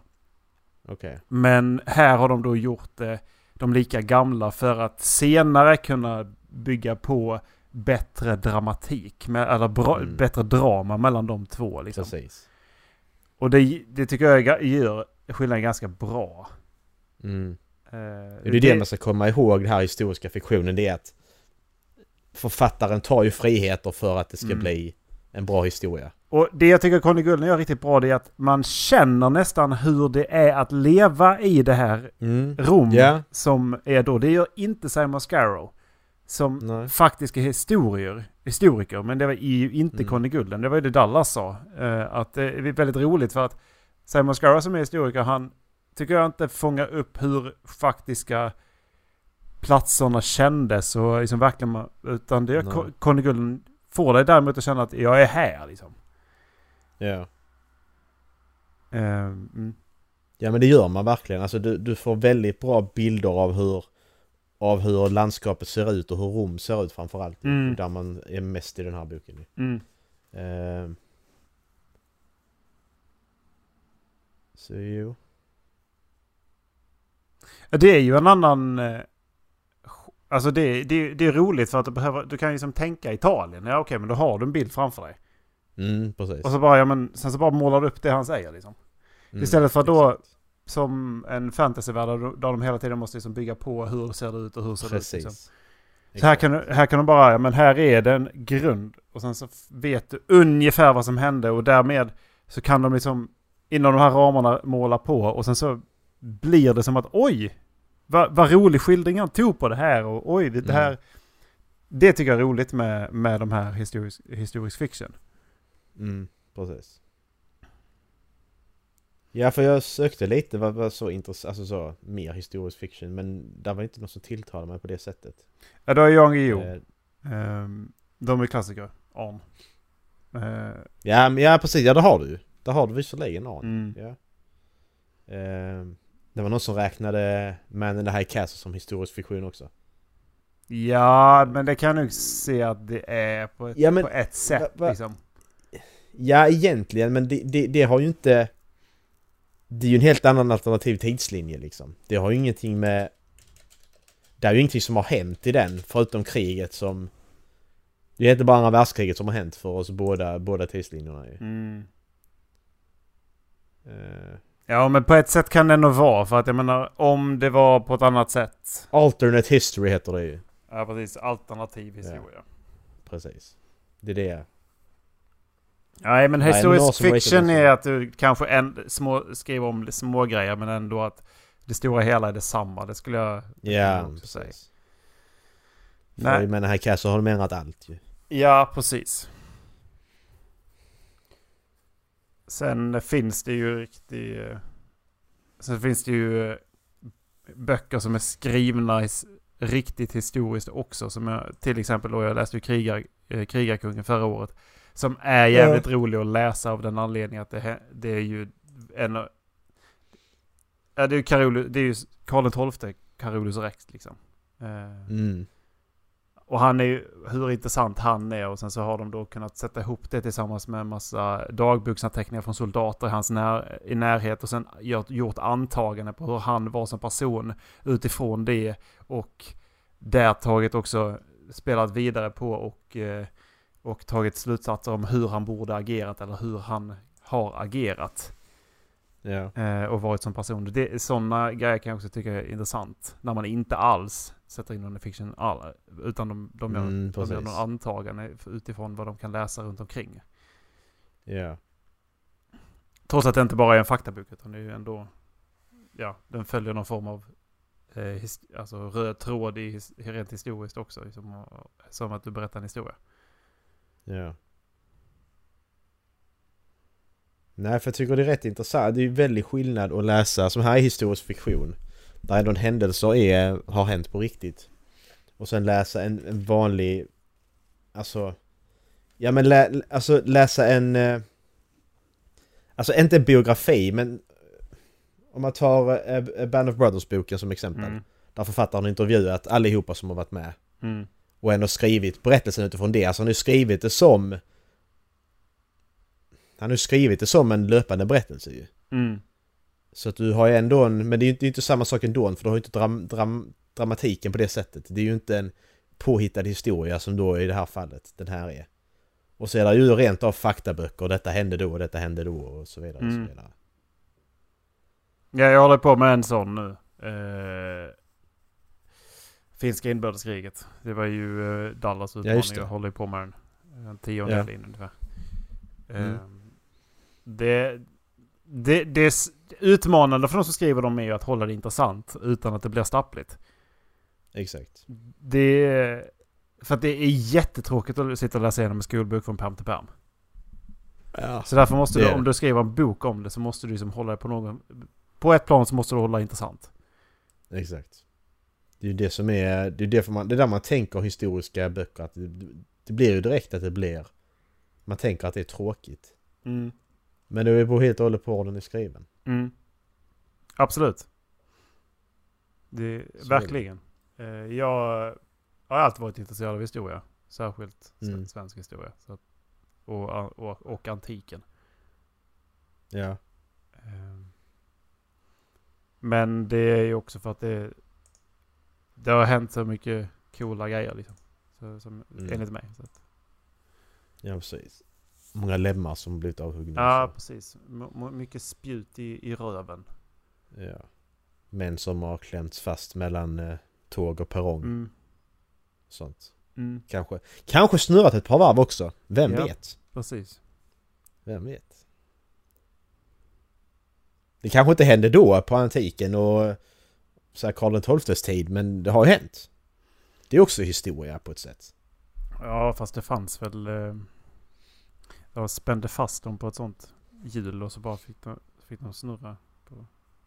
Okej. Men här har de då gjort det, de lika gamla för att senare kunna bygga på bättre dramatik, med, eller bra, Mm. bättre drama mellan de två. Liksom. Precis. Och det, det tycker jag ga- gör skillnaden ganska bra. Mm. Eh, Det är ju det man ska komma ihåg den här historiska fiktionen, det är att författaren tar ju friheter för att det ska Mm. bli en bra historia. Och det jag tycker Conny Gulden gör riktigt bra det är att man känner nästan hur det är att leva i det här Rom Ja. som är då. Det gör inte Simon Scarrow. som Nej. faktiska historier, historiker. Men det var ju inte Mm. Conny Gulden, det var ju det Dallas sa. eh, Att det är väldigt roligt för att Simon Scarra som är historiker, han tycker jag inte fångar upp hur faktiska platserna kändes. Och liksom verkligen, man- utan det Nej. Con- Conny Gulden får dig däremot att känna att jag är här liksom. Ja. Eh, mm. ja, men det gör man verkligen. Alltså du, du får väldigt bra bilder av hur, av hur landskapet ser ut och hur Rom ser ut framförallt. Mm. Där man är mest i den här boken. Mm. Eh. Så jo. Ja, Det är ju en annan... eh, sk- Alltså det, det, det är roligt för att du, behöver, du kan ju liksom tänka Italien. Ja okej, men då har du en bild framför dig. Mm, precis. Och så bara, ja, men, sen så bara målar du upp det han säger liksom. Mm, istället för att då- exakt. Som en fantasyvärld där där de hela tiden måste liksom bygga på hur ser det ut och hur ser Precis. det ut. Liksom. Så här kan, du- här kan de bara, ja men här är det en grund. Och sen så f- vet du ungefär vad som hände och därmed så kan de liksom inom de här ramarna måla på och sen så blir det som att oj, vad, vad rolig skildring han tog på det här och oj, det här. Mm. Det tycker jag är roligt med, med de här historisk, historisk fiction. Mm, precis. Ja, för jag sökte lite vad var så intressant, alltså så mer historisk fiction, men där var inte något som tilltalade mig på det sättet. Ja, då är Jan Guillou. Eh, Ehm, de är klassiker. Arn. Eh, ja, men, ja, precis, ja det har du ju. Där har du visserligen Arn. mm. Ja. Eh, det var någon som räknade Man in the High Castle som historisk fiktion också. Ja, men det kan jag nog se att det är på ett, Ja, men- på ett sätt va- va- liksom. Ja, egentligen, men det, det, det har ju inte... Det är ju en helt annan alternativ tidslinje liksom. Det har ju ingenting med... Det är ju ingenting som har hänt i den, förutom kriget som... Det är inte bara andra världskriget som har hänt för oss båda, båda tidslinjerna ju. Mm. Eh, Ja, men på ett sätt kan det nog vara. För att jag menar, om det var på ett annat sätt. alternate history heter det ju. Ja, precis. Alternativ historia. Precis. Det är det. Nej, men Nej, någon historisk som har fiction hittat är det. att du kanske en, små, skriver om små grejer men ändå att det stora hela är detsamma. Det skulle jag... kan Ja, man också precis. Nej. För i Man in the High Castle har de ändrat allt ju. Ja, precis. Sen finns det ju riktig... eh, Sen finns det ju eh, böcker som är skrivna i s- riktigt historiskt också. Som jag, till exempel då, jag läste ju Krigar, eh, Krigarkungen förra året. Som är jävligt rolig att läsa av den anledningen att det, hä- det är ju en... av- Ja, det är ju Karolus, det är ju Karl XII, Carolus Rex liksom. Eh, Mm. och han är ju, hur intressant han är och sen så har de då kunnat sätta ihop det tillsammans med en massa dagboksanteckningar från soldater i hans när, i närhet och sen gjort, gjort antaganden på hur han var som person utifrån det och där tagit också spelat vidare på och, eh, och tagit slutsatser om hur han borde agerat eller hur han har agerat Ja. eh, och varit som person. Det, sådana grejer kan jag också tycka är intressant. När man inte alls sätter in någon i fiction all, utan de, de, gör, Mm, de gör precis. någon antagande utifrån vad de kan läsa runt omkring. Ja. Trots att det inte bara är en faktabok utan det är ju ändå, ja, den följer någon form av eh, his, alltså röd tråd i, his- rent historiskt också. Liksom, och- som att du berättar en historia. Ja. Nej, för jag tycker det är rätt intressant. Det är ju väldigt skillnad att läsa, som här är historisk fiktion, där ändå en händelse är, har hänt på riktigt. Och sen läsa en, en vanlig, alltså, ja men lä, alltså läsa en, eh, alltså inte en biografi, men om man tar eh, Band of Brothers-boken som exempel, Mm. där författaren har intervjuat allihopa som har varit med Mm. och ändå skrivit berättelsen utifrån det. Alltså han har ju skrivit det som... Han har ju skrivit det som en löpande berättelse ju. Mm. Så att du har ju ändå en... Men det är ju inte, det är inte samma sak ändå för du har ju inte dram, dram, dramatiken på det sättet. Det är ju inte en påhittad historia som då i det här fallet den här är. Och så är det ju rent av faktaböcker. Detta hände då och detta hände då och så vidare. Mm. Och så vidare. Ja, jag håller på med en sån nu. Eh, finska inbördeskriget. Det var ju eh, Dallas utmaning. just det. Jag håller på med den. En tiondel Ja. in ungefär. Mm. Eh, det, det, det är s- utmanande för de som skriver dem är ju att hålla det intressant utan att det blir stappligt. Exakt. Det, För att det är jättetråkigt att sitta och läsa igenom en skolbok från pärm till pärm. Ja. Så därför måste Det är du, det. om du skriver en bok om det, så måste du liksom hålla det på någon... På ett plan så måste du hålla det intressant. Exakt. Det är ju det som är, det är därför man, det är där man tänker historiska böcker att det, det blir ju direkt att det blir, man tänker att det är tråkigt. Mm. Men det beror helt och hållet på hur den är skriven. Mm. Absolut. Det, Så verkligen. Eh, Jag har alltid varit intresserad av historia. Särskilt s- Mm. svensk historia. Så att, och, och, och antiken. Ja. Eh, Men det är ju också för att det, det har hänt så mycket coola grejer liksom. Så, som, Mm. Enligt mig. Så att, Ja, precis. Många lemmar som blivit avhuggna. ja, precis. M- m- mycket spjut i, i röven. Så, ja. Män som har klämts fast mellan eh, tåg och perrong. Mm. Sånt. Mm. Kanske, kanske snurrat ett par varv också. Vem Ja. vet? Precis. Vem vet? Det kanske inte hände då på antiken och så här Karl XIIs tid, men det har ju hänt. Det är också historia på ett sätt. Ja, fast det fanns väl... eh, De spände fast dem på ett sånt hjul och så bara fick de, fick de snurra.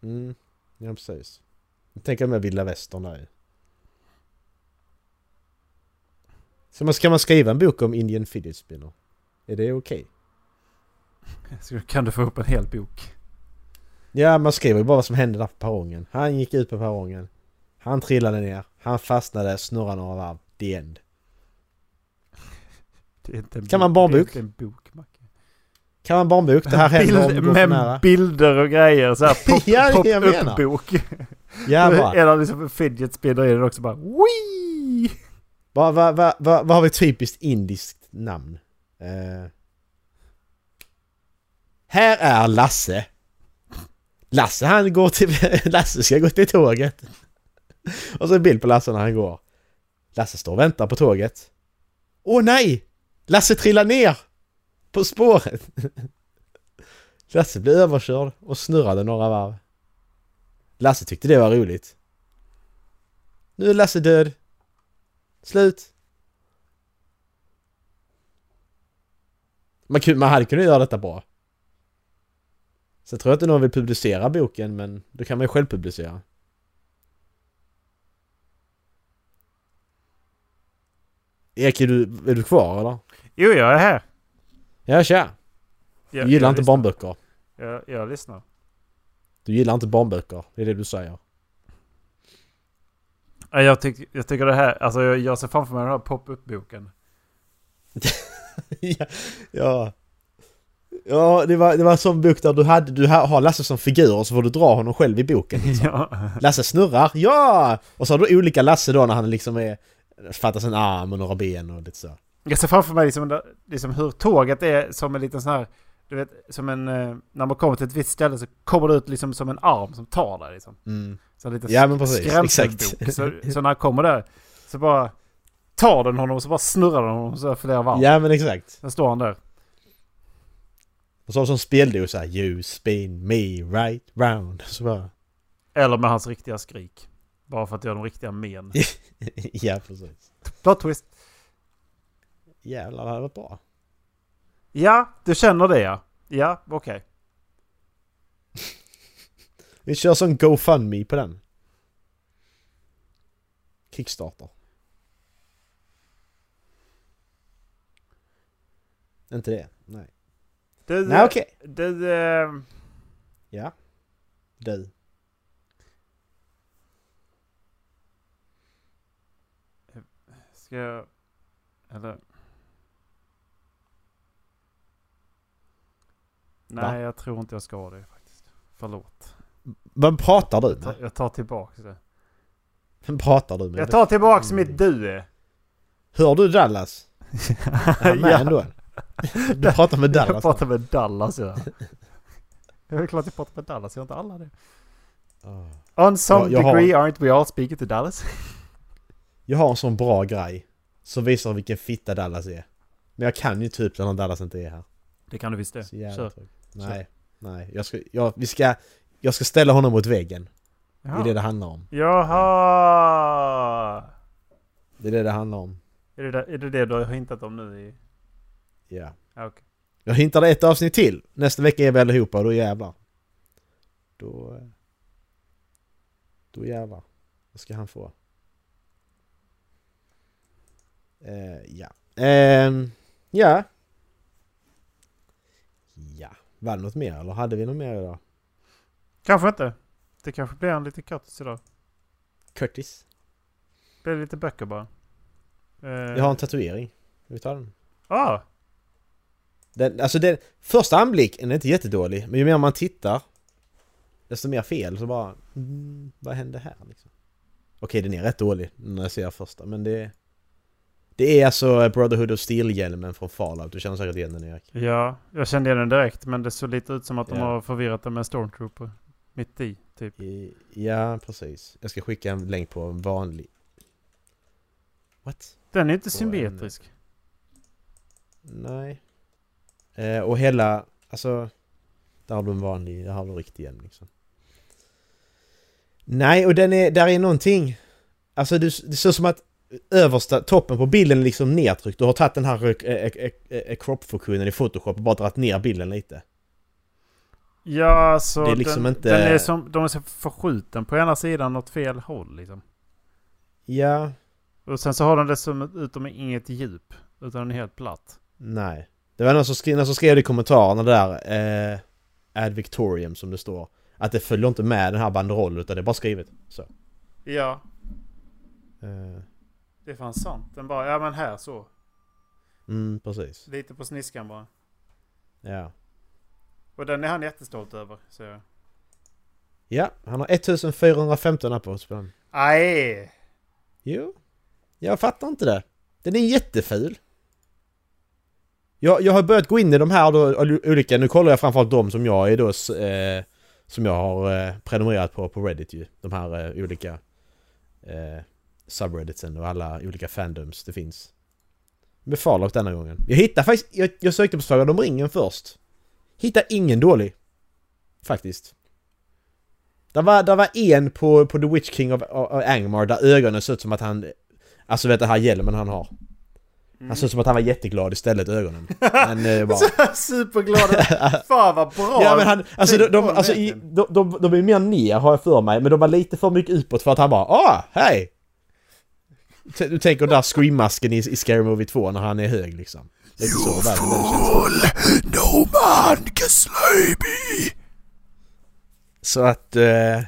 Mm, ja precis. Jag tänker med vilda västern där ju. Så man, ska man skriva en bok om Indian fidget spinner? Är det okej? Så kan du få upp en hel bok. Ja, man skriver ju bara vad som hände där på perrongen. Han gick ut på perrongen. Han trillade ner. Han fastnade, snurrade några varv. The end. Det är inte en Kan bok, man bara det är bok? inte en bok, Macke. Kan man barnbok? Det här händer om det går för Med nära. bilder och grejer så här pop, Ja, det pop jag menar. upp bok. Ja, bara. Eller liksom en fidget spinner i den också bara Wii! Vad va, va, va, vad har vi ett typiskt indiskt namn? Eh. här är Lasse. Lasse han går till... Lasse ska gå till tåget. Och så en bild på Lasse när han går. Lasse står och väntar på tåget. Åh nej! Lasse trillar ner! På spåret! Lasse blev överkörd och snurrade några varv. Lasse tyckte det var roligt. Nu är Lasse död. Slut. Man, kunde, man hade kunnat göra detta bra. Sen tror jag inte någon vill publicera boken, men då kan man ju själv publicera. Erik, är du, är du kvar eller? Jo, jag är här. Ja, tja! Jag, Du gillar jag inte lyssnar. barnböcker. Jag, jag lyssnar. Du gillar inte barnböcker, det är det du säger. Ja, Jag, tyck, jag tycker det här, alltså jag, jag ser framför mig den här pop-up-boken. ja, ja. Ja, det var, det var en sån bok där du, hade, du ha- har Lasse som figur och så får du dra honom själv i boken. ja. Lasse snurrar, ja! Och så har du olika Lasse då när han liksom är... Fattas en arm och några ben och lite så. Jag ser framför mig liksom, där- liksom hur tåget är som en liten sån här, du vet, som en, eh, när man kommer till ett visst ställe så kommer det ut liksom som en arm som tar där liksom. Mm. Så en liten Ja, men precis. skrämselbok. Exakt. Så, så när han kommer där så bara tar den honom och så bara snurrar den honom så här flera varv. Ja men exakt. Sen står han där. Och så har du sån speldos såhär You spin me right round. Så bara... Eller med hans riktiga skrik. Bara för att göra de riktiga men. ja precis. Plot twist. Jävlar det hade varit bra. Ja, du känner det ja. Ja, okej. Vi kör sån GoFundMe på den. Kickstarter. Inte det? Nej. Du, Nej okej. du, eh, Ja. Du. ska jag... Eller... Nej, Va? jag tror inte jag ska ha det faktiskt. Förlåt. Vem pratar du Jag tar, med? jag tar tillbaks det. Mm. Vem pratar du med? Jag tar tillbaks mitt du. Hör du Dallas? Han är med Ja. ändå. Du pratar med Jag Dallas. pratar med Dallas ja. Det är klart jag pratar med Dallas, jag inte alla det. Ah. On some Ja, jag har- degree aren't we all speaking to Dallas? Jag har en sån bra grej som visar vilken fitta Dallas är. Men jag kan ju typ den om Dallas inte är här. Det kan du visst det. Så jävla Kör. tråkigt. Nej, nej. Jag ska, jag, vi ska, jag ska ställa honom mot väggen. Det är det Jaha. det handlar om. Jaha. Det är det det handlar om. Är det, där, är det det du har hintat om nu? I... Ja. Ja, okej. Jag hintade ett avsnitt till. Nästa vecka är vi allihopa och då jävlar. Då... eh, Då jävlar. Vad ska han få? Eh, ja. Ehm, ja. Ja. Var det något mer eller hade vi något mer idag? Kanske inte. Det kanske blir en lite kortis idag. Curtis. Blir det lite böcker bara. Eh, Jag har en tatuering. Ska Vi tar den. ah, den alltså den... Första anblick, den är inte jättedålig. Men ju mer man tittar. Desto mer fel. Så bara... Mm, vad hände här liksom? Okej, den är rätt dålig när jag ser första. Men det... Det är alltså Brotherhood of Steel-hjälmen från Fallout. Du känner säkert igen den Erik. ja, jag kände igen den direkt men det såg lite ut som att de Ja. har förvirrat den med en stormtrooper. Mitt i, typ. I, ja, precis. Jag ska skicka en länk på en vanlig... What? Den är inte en- symmetrisk. Nej. Eh, och hela, alltså... Där har du en vanlig, där har du en riktig hjälm liksom. Nej, och den är, där är någonting. Alltså du, det ser ut som att översta toppen på bilden är liksom nedtryckt. Du har tagit den här eh, eh, eh, eh, crop-funktionen i Photoshop och bara dragit ner bilden lite. Ja, så Det är liksom den, inte- den är som, de är så förskjuten på ena sidan åt fel håll liksom. Ja, Och sen så har de dessutom utom inget djup. Utan den är helt platt. nej. Det var någon som skrev, någon som skrev i kommentarerna där, eh, Ad Victorium som det står. Att det följer inte med den här banderollen utan det är bara skrivet så. Ja, Eh, det är fan sant. Den bara, ja men här så. mm, precis. Lite på sniskan bara. Ja. Och den är han jättestolt över, ser jag. Ja, han har 1415 upvotes på den. Aj! Jo. Jag fattar inte det. Den är jätteful. Jag, jag har börjat gå in i de här då, olika, nu kollar jag framförallt de som jag är då, s- eh, som jag har eh, prenumererat på på Reddit ju. De här eh, olika eh, subredditsen och alla olika fandoms det finns. Med Fallout denna gången. Jag hittade faktiskt, jag, jag sökte på Sagan om ringen först. Hittade ingen dålig. Faktiskt. Det var, det var en på, på The Witch King of, of Angmar där ögonen såg ut som att han... Alltså vet du, den här hjälmen han har. Han såg ut som att han var jätteglad istället, ögonen. Men eh, bara... Superglad! Fan vad bra! Ja men typ. han, alltså, de, Tänk de, på alltså i, verkligen. de, de, de är mer ner har jag för mig, men de var lite för mycket utåt för att han bara ah, hej! T- Du tänker där screammasken i, i Scary Movie 2 när han är hög liksom. Lite så där, No man can slay me. Så att... Eh,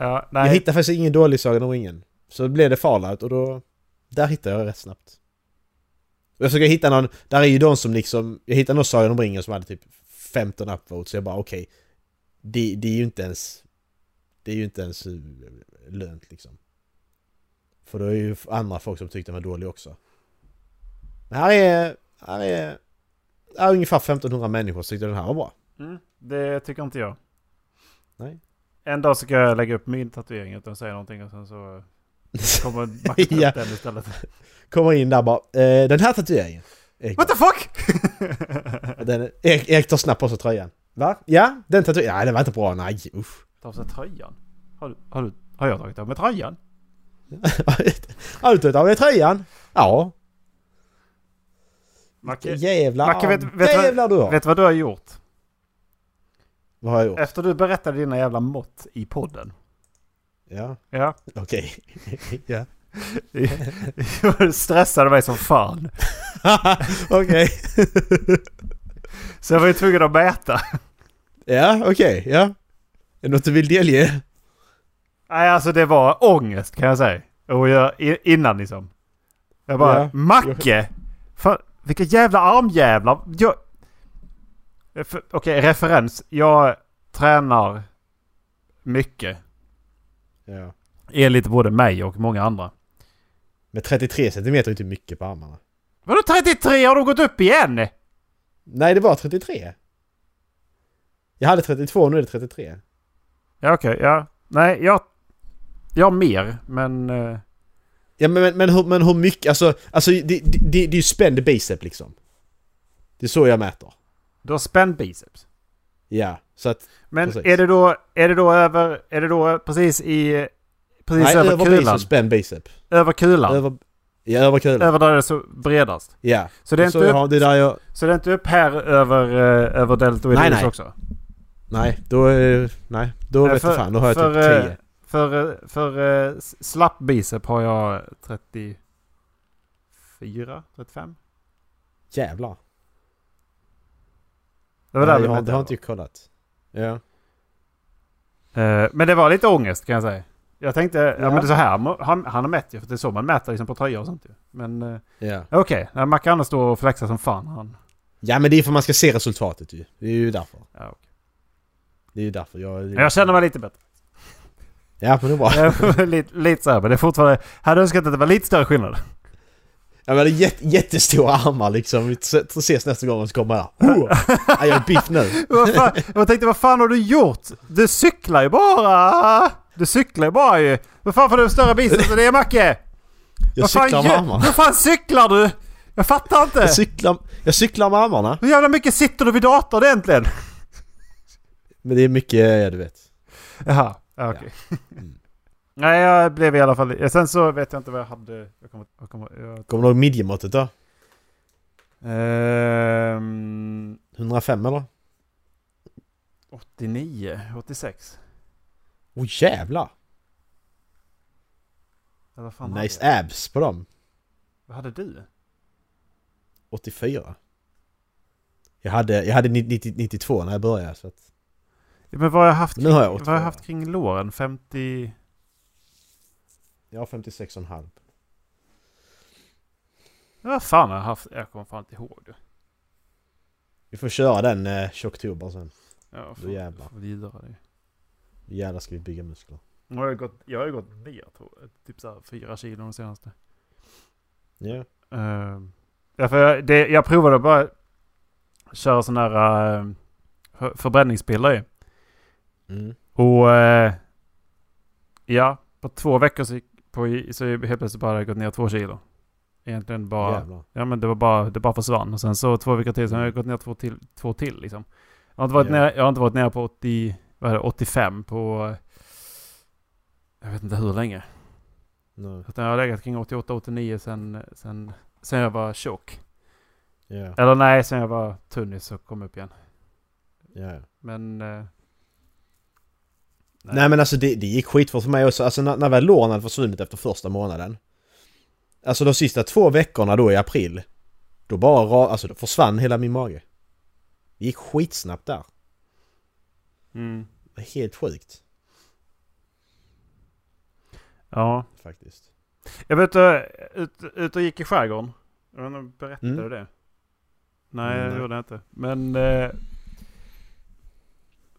Ja, jag nej. hittade faktiskt ingen dålig Sagan om ringen. Så blev det Fallout och då... Där hittade jag rätt snabbt. Och jag försöker hitta någon, där är ju de som liksom... Jag hittade någon Sagan om ringen som hade typ 15 upvotes, så jag bara okej. det, det är ju inte ens... Det är ju inte ens eh, lönt liksom. För då är ju andra folk som tyckte den var dålig också. Men här är... Här är... Här är ungefär 1500 människor som tyckte den här var bra. Mm, det tycker inte jag. Nej. En dag ska jag lägga upp min tatuering utan att säga någonting och sen så eh, kommer Max upp Ja. den istället. Kommer in där bara, eh, den här tatueringen. Erik, What the fuck! Den, Erik, Erik tar snabbt på sig tröjan. Va? Ja, den tatueringen. Nej, den var inte bra. Nej, usch. Ta av sig tröjan. Har, du, har, du, har jag tagit av mig tröjan? Har du tagit av dig tröjan? Ja. Macke, Jävlar. Macke, vet- vet vad- jävlar du har. vet du vad du har gjort? Vad har jag gjort? Efter du berättade dina jävla mått i podden. Ja, Ja. okej. ja. Du stressade mig som fan. okej. Så jag var ju tvungen att mäta. Ja, okej. Ja. Är det något du vill delge? Nej, alltså det var ångest kan jag säga. Och jag, i- innan liksom. Jag bara, Ja. Macke! Fan, vilka jävla armjävlar! Jag... Eh, för- Okej, referens. Jag tränar mycket. Ja. Enligt både mig och många andra. Men 33 centimeter är inte mycket på armarna. Vadå 33? Har de gått upp igen? Nej, det var 33. Jag hade 32, nu är det 33. Ja, okej. ja. Nej, jag... Jag har mer, men... eh, Ja men, men, men, hur, men hur mycket, alltså, alltså det, det, det, det är ju spänd bicep liksom. Det är så jag mäter. Du har spänd biceps. Ja, så att... Men Precis. är det, då, är det då över... Är det då precis i... Precis Nej, över över kulan? bicep, spänd bicep. Över kulan? Över... Ja, över kulan. Över där det är så bredast. Ja. Så det är så inte jag upp- har, det är där jag... Så det är inte upp här över, eh, över deltoidus Nej, nej. också? Nej, då... är- Nej, då Eh, vet jag fan. Då har jag för, typ 10. eh, För, eh, för eh, s- slapp bicep har jag 34, 35? Jävlar. Det var där nej, vi jag har, mätte det har över. inte jag kollat. Ja. Eh, Men det var lite ångest kan jag säga. Jag tänkte, ja, Ja. men det är så här må- han, han har mätt ju. För det är så man mäter liksom på tröjor och sånt ju. Men eh, Ja. okej, okay. Macarena står och flexar som fan han. ja, men det är för man ska se resultatet ju. Det är ju därför. Ja, okej. Det är ju därför jag... Men Jag känner mig lite bättre. Ja, men det är bra. Jag är lite, lite så här, men det är fortfarande... Hade önskat att det var lite större skillnad. Jag hade jätte, jättestora armar liksom. Vi ses ses nästa gång och så kommer jag där. Oh! Ja, jag är biff nu. Vad fan, jag tänkte vad fan har du gjort? Du cyklar ju bara! Du cyklar ju bara ju! Vad fan får du större biceps än det Macke? Jag vad fan cyklar med gör- armarna. Vad fan cyklar du? Jag fattar inte! Jag cyklar, jag cyklar med armarna. Hur jävla mycket sitter du vid datorn egentligen? Men det är mycket, ja du vet. Jaha, ja, okej. Nej, jag blev i alla fall... Sen så vet jag inte vad jag hade... Jag kommer, jag kommer, jag, Kommer du ihåg midjemåttet då? ehm, 105 eller? 89, 86. Åh oh, jävlar! Eller vad fan hade jag? Nice abs på dem. Vad hade du? 84. Jag hade, jag hade 90, 92 när jag började så att, Ja, Men vad har jag haft, Men nu har jag kring- 82. vad har jag haft kring låren? 50... Jag har 56,5. Ja, Vad fan har jag haft? Jag kommer fan inte ihåg det. Vi får köra den eh, 20 oktober sen. Ja, Då jävlar. Får vi göra det. Jävlar ska vi bygga muskler. Jag har, ju gått, jag har ju gått ner tror jag. Typ såhär fyra kilo de senaste. Ja. Uh, ja, för jag, det, jag provade att bara köra sådana här eh, för- förbränningspiller ju. Mm. Och eh, ja, på två veckor så, gick- på, så helt plötsligt bara gått ner två kilo. Egentligen bara... Jävlar. Ja men det var bara, det bara försvann. Och sen så två veckor till, sen har jag gått ner två till, två till liksom. Jag har inte varit, Ja. nere, jag har inte varit nere på 80, vad är det, 85 på... Jag vet inte hur länge. Nej. Utan jag har legat kring 88-89 sen, sen, sen jag var tjock. Ja. Eller nej, sen jag var tunn så kom jag upp igen. Ja. Men... eh, Nej. men alltså det, det gick skitfort för mig också. Alltså när, när väl låren hade försvunnit efter första månaden. Alltså de sista två veckorna då i april. Då bara ra- alltså då försvann hela min mage. Det gick skitsnabbt där. Mm, Det var Helt sjukt ja. faktiskt. Jag var ute, ut, ut och gick i skärgården. Jag vet inte om jag berättade Mm. det. Nej, Mm, det nej. gjorde jag inte. Men... Eh,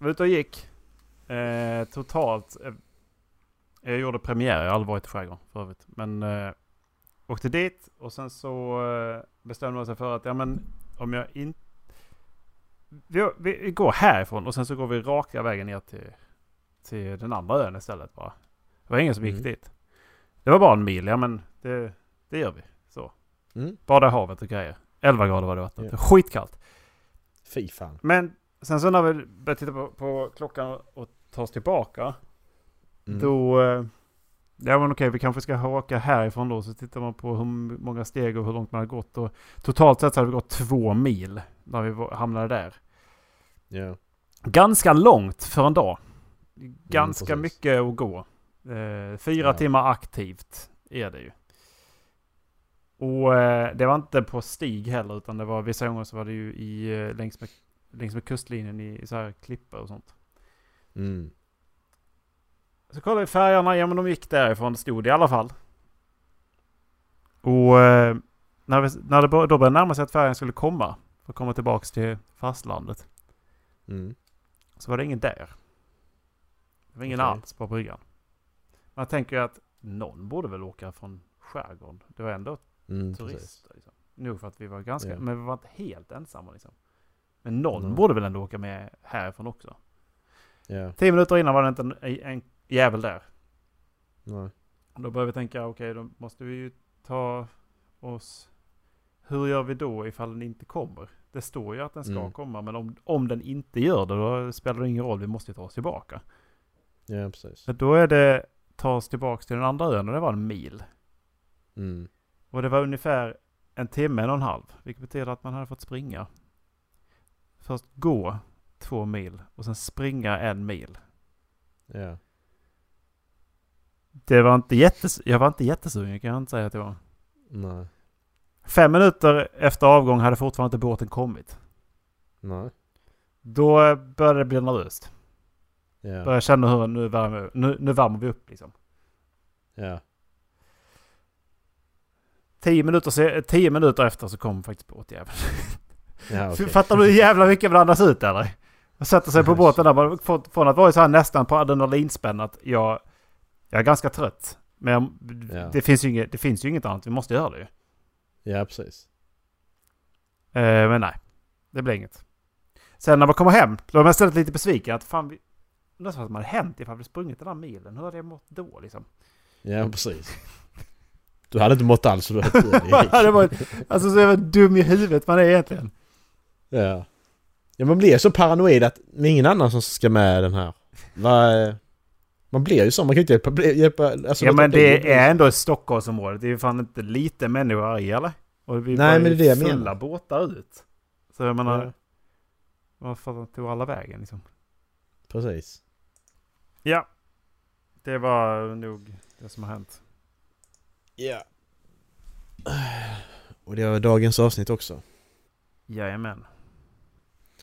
jag var ute och gick. Eh, totalt. Eh, jag gjorde premiär, jag har aldrig varit i skärgården för övrigt. Men... Eh, åkte dit och sen så eh, bestämde man sig för att ja men om jag inte... Vi, vi går härifrån och sen så går vi raka vägen ner till, till den andra ön istället bara. Det var ingen som gick Mm. dit. Det var bara en mil, ja men det, det gör vi. Så. Mm. Bada i havet och grejer. 11 grader var det i vattnet. Ja. Skitkallt. Fy fan. Men sen så när vi började titta på, på klockan och ta oss tillbaka. Mm. Då... eh, Ja men okej, vi kanske ska åka härifrån då. Så tittar man på hur många steg och hur långt man har gått. Och totalt sett så hade vi gått två mil när vi var- hamnade där. Ja. Ganska långt för en dag. Ganska Mm, precis. mycket att gå. Eh, fyra Ja. timmar aktivt är det ju. Och eh, det var inte på stig heller utan det var vissa gånger så var det ju i, eh, längs, med, längs med kustlinjen i, i så här klippor och sånt. Mm. Så kollade vi färjorna, ja men de gick därifrån, det stod i alla fall. Och eh, när, vi, när det bör, då började närma sig att färjan skulle komma, för att komma tillbaks till fastlandet, Mm. så var det ingen där. Det var ingen Okej. alls på bryggan. Man tänker ju att någon borde väl åka från skärgården. Det var ändå Mm. Precis. turister. Liksom. Nog för att vi var ganska, Ja. men vi var inte helt ensamma liksom. Men någon Nej. borde väl ändå åka med härifrån också. Ja. Tio minuter innan var det inte en, en jävel där. Nej. Och Då börjar vi tänka, okej då måste vi ju ta oss... Hur gör vi då ifall den inte kommer? Det står ju att den ska Mm. komma, men om, om den inte gör det, då spelar det ingen roll. Vi måste ju ta oss tillbaka. Ja precis. Så då är det ta oss tillbaka till den andra ön och det var en mil. Mm. Och det var ungefär en timme, en och en halv. Vilket betyder att man hade fått springa. Först gå två mil och sen springa en mil. Ja. Det var inte jättes- jag var inte jättesugen kan jag inte säga att jag var. Nej. Fem minuter efter avgång hade fortfarande inte båten kommit. Nej. Då eh, började det bli nervöst. Ja. Började jag känna hur nu värmer, nu, nu värmer vi upp liksom. Ja. Tio minuter, se- tio minuter efter så kom faktiskt båtjäveln. Ja, okej. Fattar du hur jävla mycket blandas ut eller? Och sätter sig på båten där. Man får- Från att vara så här nästan på adrenalinspänn att jag, jag är ganska trött. Men jag, Ja. det, finns ju inget, det finns ju inget annat. Vi måste göra det ju. Ja, precis. Eh, men nej, det blev inget. Sen när man kommer hem, då är man istället lite besviken. Att fan, vi, undrar vad som hade hänt ifall vi sprungit den där milen. Hur hade jag mått då liksom? Ja, precis. Du hade inte mått alls så du hade det var, alltså så jävla dum i huvudet man är egentligen. Ja. Ja, man blir så paranoid att det är ingen annan som ska med den här. Va, man blir ju så, man kan ju inte hjälpa... bli- hjälpa alltså, ja låta men bli att det bli- är ändå i Stockholmsområdet. Det är ju fan inte lite människor arga eller? Och vi Nej, var ju men det är det jag fulla menar. båtar ut. Så jag Ja, menar, varför tog alla vägen liksom? precis. Ja. Det var nog det som har hänt. Ja. Och det var dagens avsnitt också. Jajamän.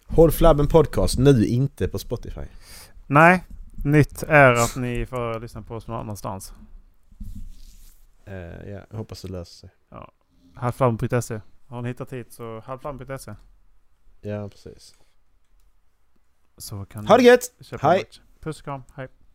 Håll Flabben Podcast, nu inte på Spotify. Nej, nytt är att ni får lyssna på oss någon annanstans. Eh, ja, jag hoppas det löser sig. Halvflam.se. E. Har ni hittat hit så halvflam.se. Ja, precis. Så kan Ha det ni gött! köpa Hej! merch. Puss och kram. Hej.